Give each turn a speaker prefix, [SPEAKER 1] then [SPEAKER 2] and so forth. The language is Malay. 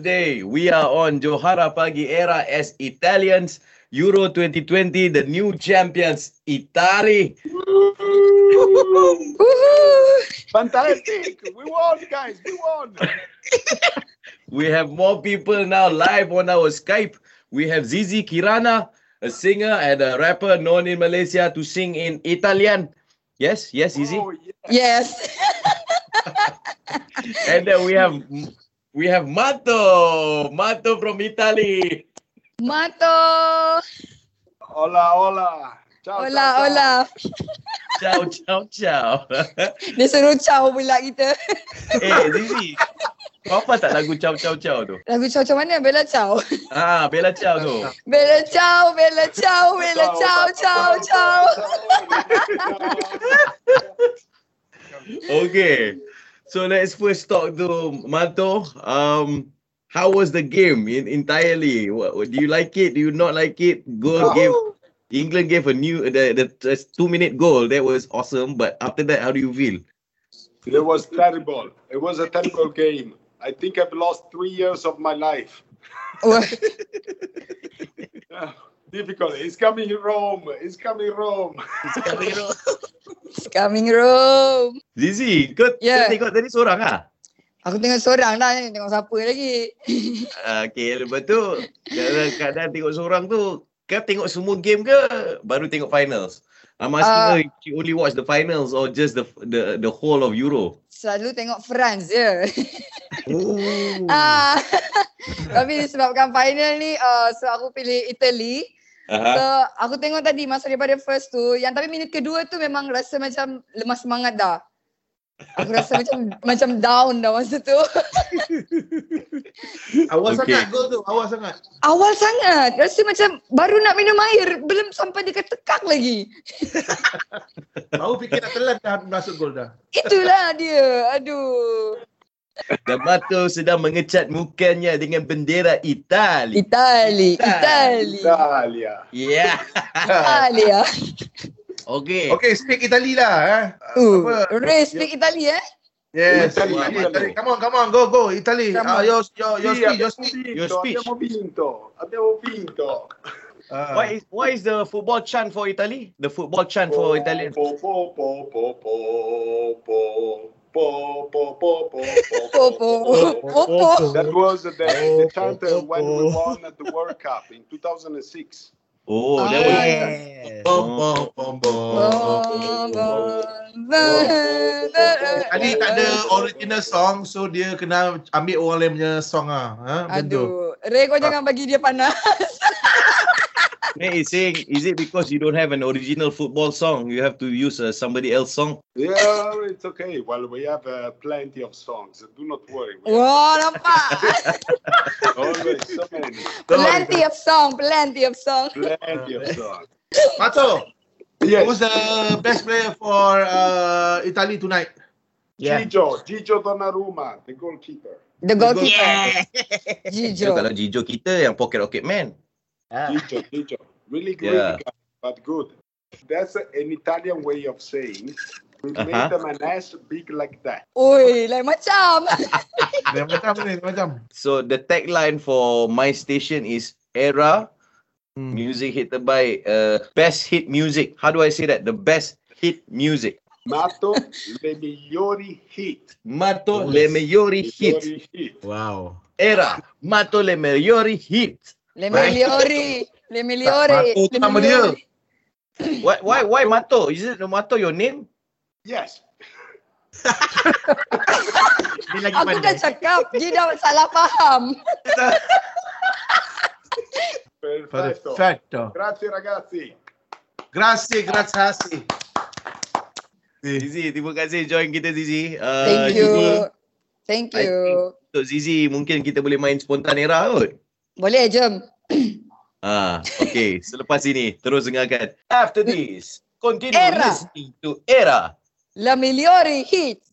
[SPEAKER 1] Today, we are on Johara Pagi Era as Italians Euro 2020, the new champions, Itali.
[SPEAKER 2] Fantastic! we won, guys. We won.
[SPEAKER 1] We have more people now live on our Skype. We have Zizi Kirana, a singer and a rapper known in Malaysia to sing in Italian. Yes, yes, Zizi.
[SPEAKER 2] Oh, yeah.
[SPEAKER 3] Yes.
[SPEAKER 1] And then we have we have Mato, Mato from Italy.
[SPEAKER 3] Mato.
[SPEAKER 2] Hola, hola.
[SPEAKER 3] Hola,
[SPEAKER 2] Ciao, ciao, ciao.
[SPEAKER 3] hola.
[SPEAKER 1] Ciao, ciao, ciao.
[SPEAKER 3] Dia suruh caw pula kita.
[SPEAKER 1] eh, Zizi. Kau apa tak lagu ciao ciao ciao tu?
[SPEAKER 3] Lagu caw macam mana? Bella caw.
[SPEAKER 1] Ah, Bella Ciao tu.
[SPEAKER 3] Bella caw, Bella caw, Bella caw, caw, caw.
[SPEAKER 1] Okay. So let's first talk to Mato. Um, how was the game in, entirely? What, what- do you like it? Do you not like it? Goal gave England gave a new the, the, the two minute goal. That was awesome. But after that, how do you feel?
[SPEAKER 2] It was terrible. It was a terrible game. I think I've lost three years of my life.
[SPEAKER 3] Wah,
[SPEAKER 2] Yeah, Difficult. It's coming Rome. It's coming Rome.
[SPEAKER 3] It's coming room.
[SPEAKER 1] Zizi, kau yeah.
[SPEAKER 3] Yeah.
[SPEAKER 1] tengok tadi seorang ah.
[SPEAKER 3] Aku tengok seorang lah. ni, Tengok siapa lagi.
[SPEAKER 1] Ah, Okay, lepas tu dalam keadaan tengok seorang tu, kau tengok semua game ke baru tengok finals? I'm asking
[SPEAKER 3] Ah.
[SPEAKER 1] her if she only watch the finals or just the the the whole of Euro.
[SPEAKER 3] Selalu tengok France je.
[SPEAKER 1] Oh.
[SPEAKER 2] Hmm.
[SPEAKER 3] Ah, tapi disebabkan final ni, uh, so aku pilih Italy. So
[SPEAKER 1] Aha.
[SPEAKER 3] aku tengok tadi masa daripada first tu yang tapi minit kedua tu memang rasa macam lemah semangat dah. Aku rasa macam macam down dah masa tu.
[SPEAKER 4] Awal
[SPEAKER 1] Okey.
[SPEAKER 4] sangat gol tu, awal sangat.
[SPEAKER 3] Awal sangat. Rasa macam baru nak minum air, belum sampai dekat tekak lagi.
[SPEAKER 4] Baru fikir nak telan dah masuk gol dah.
[SPEAKER 3] Itulah dia. Aduh.
[SPEAKER 1] Dan Mato sedang mengecat mukanya dengan bendera Itali. Ya,
[SPEAKER 3] Itali,
[SPEAKER 1] Itali.
[SPEAKER 3] Itali.
[SPEAKER 2] Italia.
[SPEAKER 1] Yeah.
[SPEAKER 3] Itali ah.
[SPEAKER 1] Okay.
[SPEAKER 4] Okay, speak Itali lah. Eh.
[SPEAKER 3] Uh,
[SPEAKER 4] Apa? Ya.
[SPEAKER 3] Ray speak Itali eh.
[SPEAKER 4] Yes,
[SPEAKER 2] Itali,
[SPEAKER 4] Itali,
[SPEAKER 2] Itali.
[SPEAKER 4] Itali. Come on, come on, go, go. Italy.
[SPEAKER 2] Come
[SPEAKER 4] Ah,
[SPEAKER 2] on.
[SPEAKER 4] your, your,
[SPEAKER 2] Sì,
[SPEAKER 4] your speech,
[SPEAKER 2] abbiamo
[SPEAKER 4] your speech.
[SPEAKER 1] Your
[SPEAKER 2] vinto,
[SPEAKER 1] speech.
[SPEAKER 2] abbiamo vinto. Abbiamo vinto.
[SPEAKER 4] Ah.
[SPEAKER 1] What is what is the football chant for Italy? The football chant
[SPEAKER 4] Oh.
[SPEAKER 1] for Italian.
[SPEAKER 2] Po, po, po, po, po, po. Po, po, po, po, po,
[SPEAKER 3] Popo. Popo.
[SPEAKER 2] That was the, the
[SPEAKER 4] Oh,
[SPEAKER 2] chanter
[SPEAKER 4] oh,
[SPEAKER 2] when we
[SPEAKER 4] oh.
[SPEAKER 2] won at the World Cup in 2006.
[SPEAKER 1] Oh,
[SPEAKER 4] Ah.
[SPEAKER 1] that was
[SPEAKER 3] Yeah.
[SPEAKER 4] Bom, bom, bom, oh, bom. Itali tak ada original song, so dia kena ambil orang lain punya song ah. Ha, benda.
[SPEAKER 3] Aduh, Ah. Ray kau jangan bagi dia panas.
[SPEAKER 1] Nate is saying, is it because you don't have an original football song? You have to use uh, somebody else song?
[SPEAKER 2] Yeah, it's okay. Well, we have uh, plenty of songs. Do not worry. We have
[SPEAKER 3] Wah, nampak.
[SPEAKER 2] always so many.
[SPEAKER 3] plenty of song, plenty of song.
[SPEAKER 2] Plenty of songs.
[SPEAKER 4] Mato,
[SPEAKER 2] Yes,
[SPEAKER 4] who's the best player for uh, Italy tonight?
[SPEAKER 2] Gigio, Gigio Donnarumma, the goalkeeper.
[SPEAKER 3] The goalkeeper.
[SPEAKER 1] Yo,
[SPEAKER 3] Jijo.
[SPEAKER 1] kalau Jijo kita yang pocket rocket man.
[SPEAKER 4] Ah.
[SPEAKER 2] Gigio, Gigio. Really great
[SPEAKER 1] Yeah.
[SPEAKER 2] guy, but good. That's an Italian way of saying we
[SPEAKER 1] Uh-huh.
[SPEAKER 2] made them an ass big like that.
[SPEAKER 3] Oi, lain macam.
[SPEAKER 4] Dia macam ni, dia macam.
[SPEAKER 1] So the tagline for my station is Era
[SPEAKER 4] Hmm.
[SPEAKER 1] Music Hit by uh, Best Hit Music. How do I say that? The best hit music.
[SPEAKER 2] Matto le migliori hit.
[SPEAKER 1] Mato le migliori hit.
[SPEAKER 2] Migliori hit.
[SPEAKER 4] Wow.
[SPEAKER 1] Era Mato le migliori hit.
[SPEAKER 3] Le Meliori. Le Meliori.
[SPEAKER 4] Mato tu nama dia.
[SPEAKER 1] Why why why Mato? Is it Mato your name?
[SPEAKER 2] Yes.
[SPEAKER 4] Dia lagi
[SPEAKER 3] Aku dah cakap, dia dah salah faham.
[SPEAKER 2] Perfetto.
[SPEAKER 4] Perfetto.
[SPEAKER 2] Grazie ragazzi.
[SPEAKER 4] Grazie, grazie.
[SPEAKER 1] Zizi, terima kasih join kita Zizi. Uh,
[SPEAKER 3] Thank you. Thank
[SPEAKER 1] I
[SPEAKER 3] you.
[SPEAKER 1] Untuk Zizi mungkin kita boleh main spontan era kot.
[SPEAKER 3] Boleh, jom.
[SPEAKER 1] Ah, okay. Selepas ini terus dengarkan. After this, continue
[SPEAKER 3] Era.
[SPEAKER 1] listening to Era.
[SPEAKER 3] La Meliori hit.